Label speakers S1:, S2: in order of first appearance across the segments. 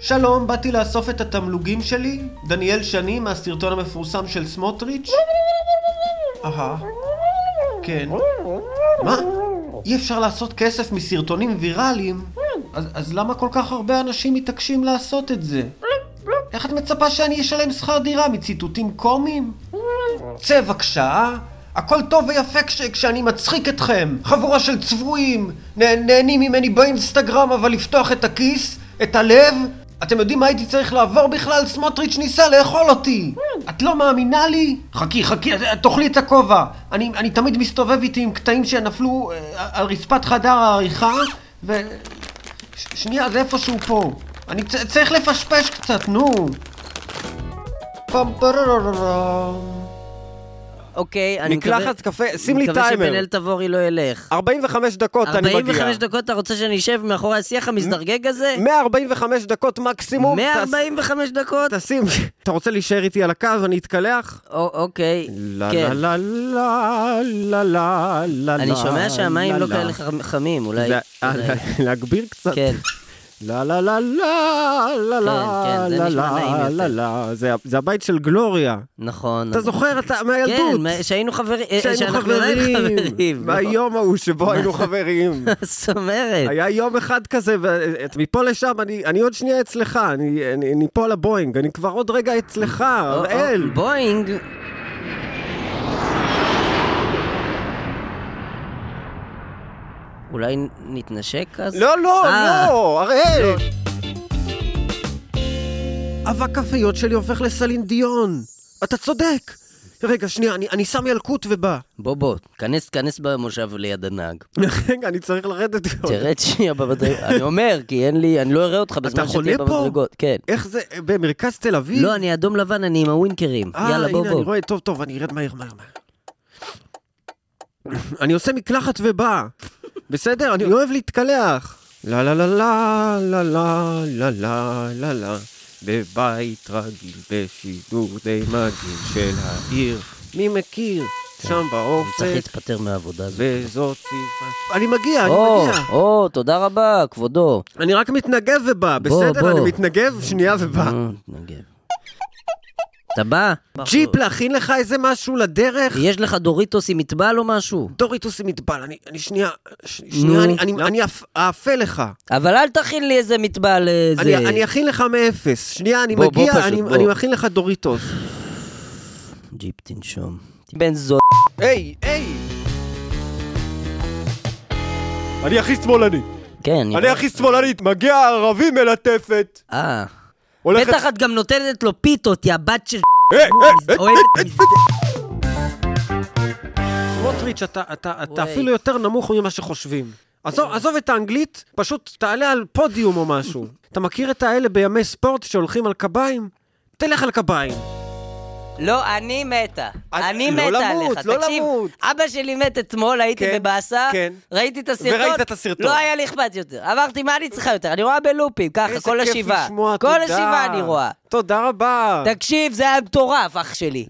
S1: שלום, באתי לאסוף את התמלוגים שלי, דניאל שני מהסרטון המפורסם של סמוטריץ'. אהה. כן. מה? אי אפשר לעשות כסף מסרטונים ויראליים? אז, אז למה כל כך הרבה אנשים מתעקשים לעשות את זה? איך את מצפה שאני אשלם שכר דירה מציטוטים קומיים? צא בבקשה, הכל טוב ויפה כש, כשאני מצחיק אתכם, חבורה של צבועים, נה, נהנים ממני באינסטגרם אבל לפתוח את הכיס, את הלב, אתם יודעים מה הייתי צריך לעבור בכלל? סמוטריץ' ניסה לאכול אותי! את לא מאמינה לי? חכי, חכי, את- את תאכלי את הכובע. אני, אני תמיד מסתובב איתי עם קטעים שנפלו אה, על רצפת חדר העריכה, ו... ש- שנייה, זה איפשהו פה. אני צ- צריך לפשפש קצת, נו. פעם פרררררם.
S2: אוקיי, אני מקווה...
S3: מקלחת קפה, שים לי
S2: אני מקווה
S3: טיימר.
S2: שבן-אל תבורי לא ילך.
S3: 45 דקות אני מגיע.
S2: 45 דקות אתה רוצה שאני אשב מאחורי השיח המזדרגג הזה?
S3: 145 דקות מקסימום.
S2: 145 דקות?
S3: תס- תשים, אתה רוצה להישאר איתי על הקו, אני אתקלח?
S2: או- אוקיי,
S3: לה
S2: כן.
S3: לה לה לה לה לה לה
S2: אני שומע שהמים
S3: לה,
S2: לא
S3: לה.
S2: כאלה חכ- חמים, אולי...
S3: לה- אה,
S2: אולי-
S3: להגביר קצת.
S2: כן.
S3: לה לה לה לה לה
S2: כן,
S3: לה
S2: זה
S3: לה
S2: נשמע נעים
S3: לה
S2: יותר.
S3: לה לה זה ה- זה הבית של גלוריה.
S2: נכון.
S3: אתה זוכר? אתה מהילדות.
S2: כן, מה- שהיינו חברים. אה,
S3: שהיינו
S2: שאנחנו עדיין
S3: חברים.
S2: חברים. לא.
S3: מהיום ההוא שבו היינו חברים.
S2: מה זאת אומרת?
S3: היה יום אחד כזה, ומפה לשם, אני, אני עוד שנייה אצלך, אני, אני, אני פה על הבואינג, אני כבר עוד רגע אצלך,
S2: או- או-
S3: הראל.
S2: בואינג. אולי נתנשק אז?
S3: לא, לא,
S2: אה.
S3: לא, הראל. אבק הפיות שלי הופך לסלינדיון. אתה צודק. רגע, שנייה, אני, אני שם ילקוט ובא.
S2: בוא, בוא, כנס, כנס במושב ליד הנהג.
S3: רגע, אני צריך לרדת.
S2: תרד שנייה במדרגות. אני אומר, כי אין לי, אני לא אראה אותך בזמן
S3: חונה
S2: שתהיה
S3: פה?
S2: במדרגות. כן.
S3: איך זה, במרכז תל אביב?
S2: לא, אני אדום לבן, אני עם הווינקרים. יאללה,
S3: אה,
S2: בוא,
S3: הנה, אני
S2: בוא.
S3: רואה, טוב, טוב, אני ארד מהר, מהר, מהר. אני עושה מקלחת ובא. בסדר? אני אוהב להתקלח. לה לה לה לה לה לה לה לה לה לה בבית רגיל בשידור די מדהים של העיר. מי מכיר? שם
S2: אני צריך
S3: באופק,
S2: להתפטר מהעבודה הזאת.
S3: וזאת סיפה. אני מגיע, אני
S2: או,
S3: מגיע.
S2: או, תודה רבה, כבודו.
S3: אני רק מתנגב ובא,
S2: בוא,
S3: בסדר? אני
S2: בוא.
S3: מתנגב, שנייה ובא.
S2: אה, תתנגב. אתה בא?
S3: ג'יפ, להכין לך איזה משהו לדרך?
S2: יש לך דוריטוס עם מטבל או משהו?
S3: דוריטוס עם מטבל, אני, אני שנייה, ש, שנייה, אני, אני,
S2: לא.
S3: אני אפ- אאפה לך.
S2: אבל אל תכין לי איזה מטבל אה,
S3: אני,
S2: זה...
S3: אני אכין לך מאפס. שנייה, אני
S2: בוא, בוא
S3: מגיע,
S2: פשוט,
S3: אני,
S2: בוא.
S3: אני מכין לך דוריטוס.
S2: ג'יפ תנשום. בן זו...
S3: היי, היי! אני הכי שמאלני.
S2: כן,
S3: שמאלנית. מגיע ערבי מלטפת.
S2: אה. בטח את גם נותנת לו פיתות, יא בת של...
S3: אה,
S2: אוהבת מזד-
S3: סמוטריץ', אתה, אתה, אתה
S2: וואי.
S3: אפילו יותר נמוך ממה שחושבים. עזוב, עזוב את האנגלית, פשוט תעלה על פודיום או משהו. אתה מכיר את האלה בימי ספורט שהולכים על קביים? תלך על קביים.
S2: לא, אני מתה.
S3: אני-
S2: אני
S3: לא
S2: מתה
S3: למות,
S2: עליך.
S3: לא
S2: תקשיב,
S3: למות.
S2: אבא שלי מת אתמול, הייתי
S3: כן,
S2: בבאסה,
S3: כן.
S2: ראיתי את הסרטון.
S3: וראית את הסרטון.
S2: לא היה לי אכפת יותר. אמרתי, מה אני צריכה יותר? אני רואה בלופים, ככה,
S3: איזה
S2: כל
S3: כיף
S2: השבעה.
S3: לשמוע,
S2: כל
S3: תודה.
S2: השבעה אני רואה.
S3: תודה רבה.
S2: תקשיב, זה היה מטורף, אח שלי.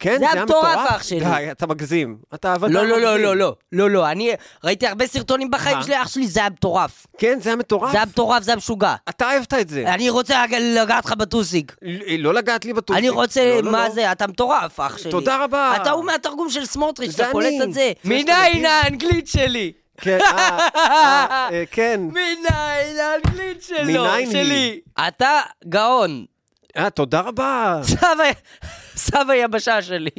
S3: כן,
S2: זה היה מטורף, אח שלי.
S3: די, אתה מגזים. אתה אבל...
S2: לא,
S3: אתה
S2: לא, לא,
S3: מגזים.
S2: לא, לא, לא, לא, אני ראיתי הרבה סרטונים בחיים
S3: אה.
S2: שלי, אח שלי, זה היה מטורף.
S3: כן, זה היה מטורף.
S2: זה אה, היה מטורף, זה היה משוגע.
S3: אתה אהבת את זה.
S2: אני רוצה לג- לגעת לך בטוסיק.
S3: ל- לא לגעת לי בטוסיק.
S2: אני רוצה,
S3: לא, לא,
S2: מה
S3: לא.
S2: זה, אתה מטורף, אח שלי.
S3: תודה רבה.
S2: אתה הוא מהתרגום של סמוטריץ',
S3: זה
S2: אתה קולט
S3: אני.
S2: את זה.
S3: זה שאתה
S2: מניין
S3: מכיר.
S2: האנגלית שלי?
S3: כן, אה, אה, אה, כן.
S2: מניין האנגלית שלו,
S3: מניין
S2: שלי. אתה גאון.
S3: אה, תודה רבה.
S2: סבא, סבא יבשה שלי.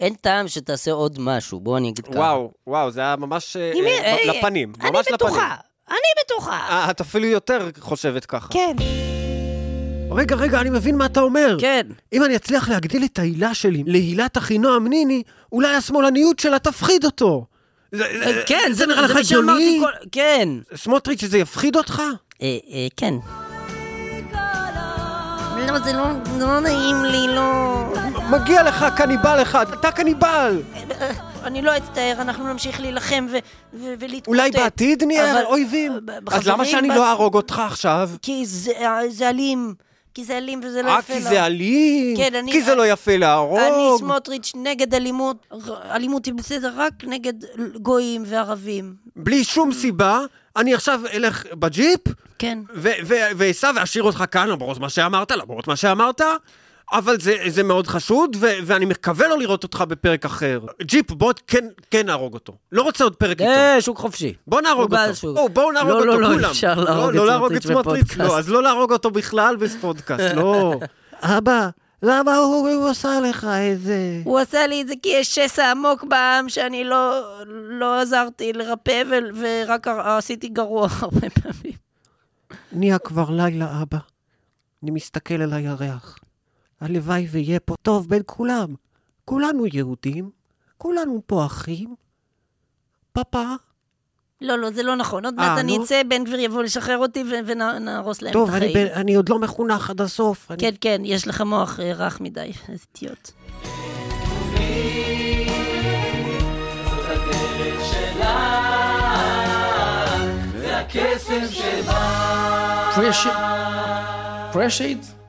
S2: אין טעם שתעשה עוד משהו, בוא אני אגיד ככה.
S3: וואו, וואו, זה היה ממש אה,
S2: אם-
S3: אה,
S2: אה,
S3: לפנים.
S2: אני
S3: ממש לפנים.
S2: בטוחה, אני בטוחה.
S3: אה, את אפילו יותר חושבת ככה.
S2: כן.
S3: רגע, רגע, אני מבין מה אתה אומר.
S2: כן.
S3: אם אני אצליח להגדיל את ההילה שלי להילת אחינועם ניני, אולי השמאלניות שלה תפחיד אותו. זה- זה-
S2: כן,
S3: אה, זה נראה לך
S2: מה שאמרתי
S3: הגיוני?
S2: כל- כן.
S3: סמוטריץ', זה יפחיד אותך?
S2: אה, אה, כן. לא, זה לא, לא נעים לי, לא...
S3: מגיע לך קניבל אחד, אתה קניבל!
S2: אני לא אצטער, אנחנו נמשיך להילחם ו- ו- ולהתמוטט.
S3: אולי בעתיד
S2: אבל- אה,
S3: נהיה אויבים?
S2: ב- ב-
S3: אז למה
S2: חברים,
S3: שאני
S2: ב-
S3: לא אהרוג אותך עכשיו?
S2: כי זה, זה אלים. כי זה אלים וזה לא
S3: אה,
S2: יפה
S3: כי
S2: לה.
S3: זה אלים?
S2: כן, אני-
S3: כי זה לא יפה
S2: אני
S3: להרוג?
S2: סמוטריץ' נגד אלימות. ר- אלימות היא בסדר רק נגד גויים וערבים.
S3: בלי שום סיבה, אני עכשיו אלך בג'יפ,
S2: Mm. כן.
S3: ועשו אשאיר אותך כאן למרות מה שאמרת, למרות מה שאמרת, אבל זה, זה מאוד חשוד, ו, ואני מקווה לא לראות אותך בפרק אחר. ג'יפ, בוא כן, כן נהרוג אותו. לא רוצה עוד פרק איתו.
S2: אה, שוק חופשי.
S3: בואו נהרוג
S2: הוא בעל
S3: אותו.
S2: שוק.
S3: בואו, בואו נהרוג
S2: לא,
S3: אותו
S2: לא, לא,
S3: כולם.
S2: אפשר להרוג את
S3: לא להרוג את
S2: סמוטריץ'
S3: סמוטריץ', לא,
S2: בפודקאסט.
S3: אז לא להרוג אותו בכלל בפודקאסט, לא. אבא, למה הוא הוא עשה לך את זה?
S2: הוא עשה לי את זה כי יש שסע עמוק בעם שאני לא, לא עזרתי לרפא ו, ורק עשיתי גרוע הרבה פעמים.
S3: נהיה כבר לילה, אבא. אני מסתכל על הירח. הלוואי ויהיה פה טוב בין כולם. כולנו יהודים, כולנו פה אחים. פאפה.
S2: לא, לא, זה לא נכון. עוד
S3: אה,
S2: מעט אני
S3: נו.
S2: אצא, בן גביר יבוא לשחרר אותי ו- ונהרוס להם
S3: טוב,
S2: את
S3: אני,
S2: החיים.
S3: ב- אני עוד לא מחונך עד הסוף. אני-
S2: כן, כן, יש לך מוח אה, רך מדי, איזה אידיוט.
S4: Pressure, pressure it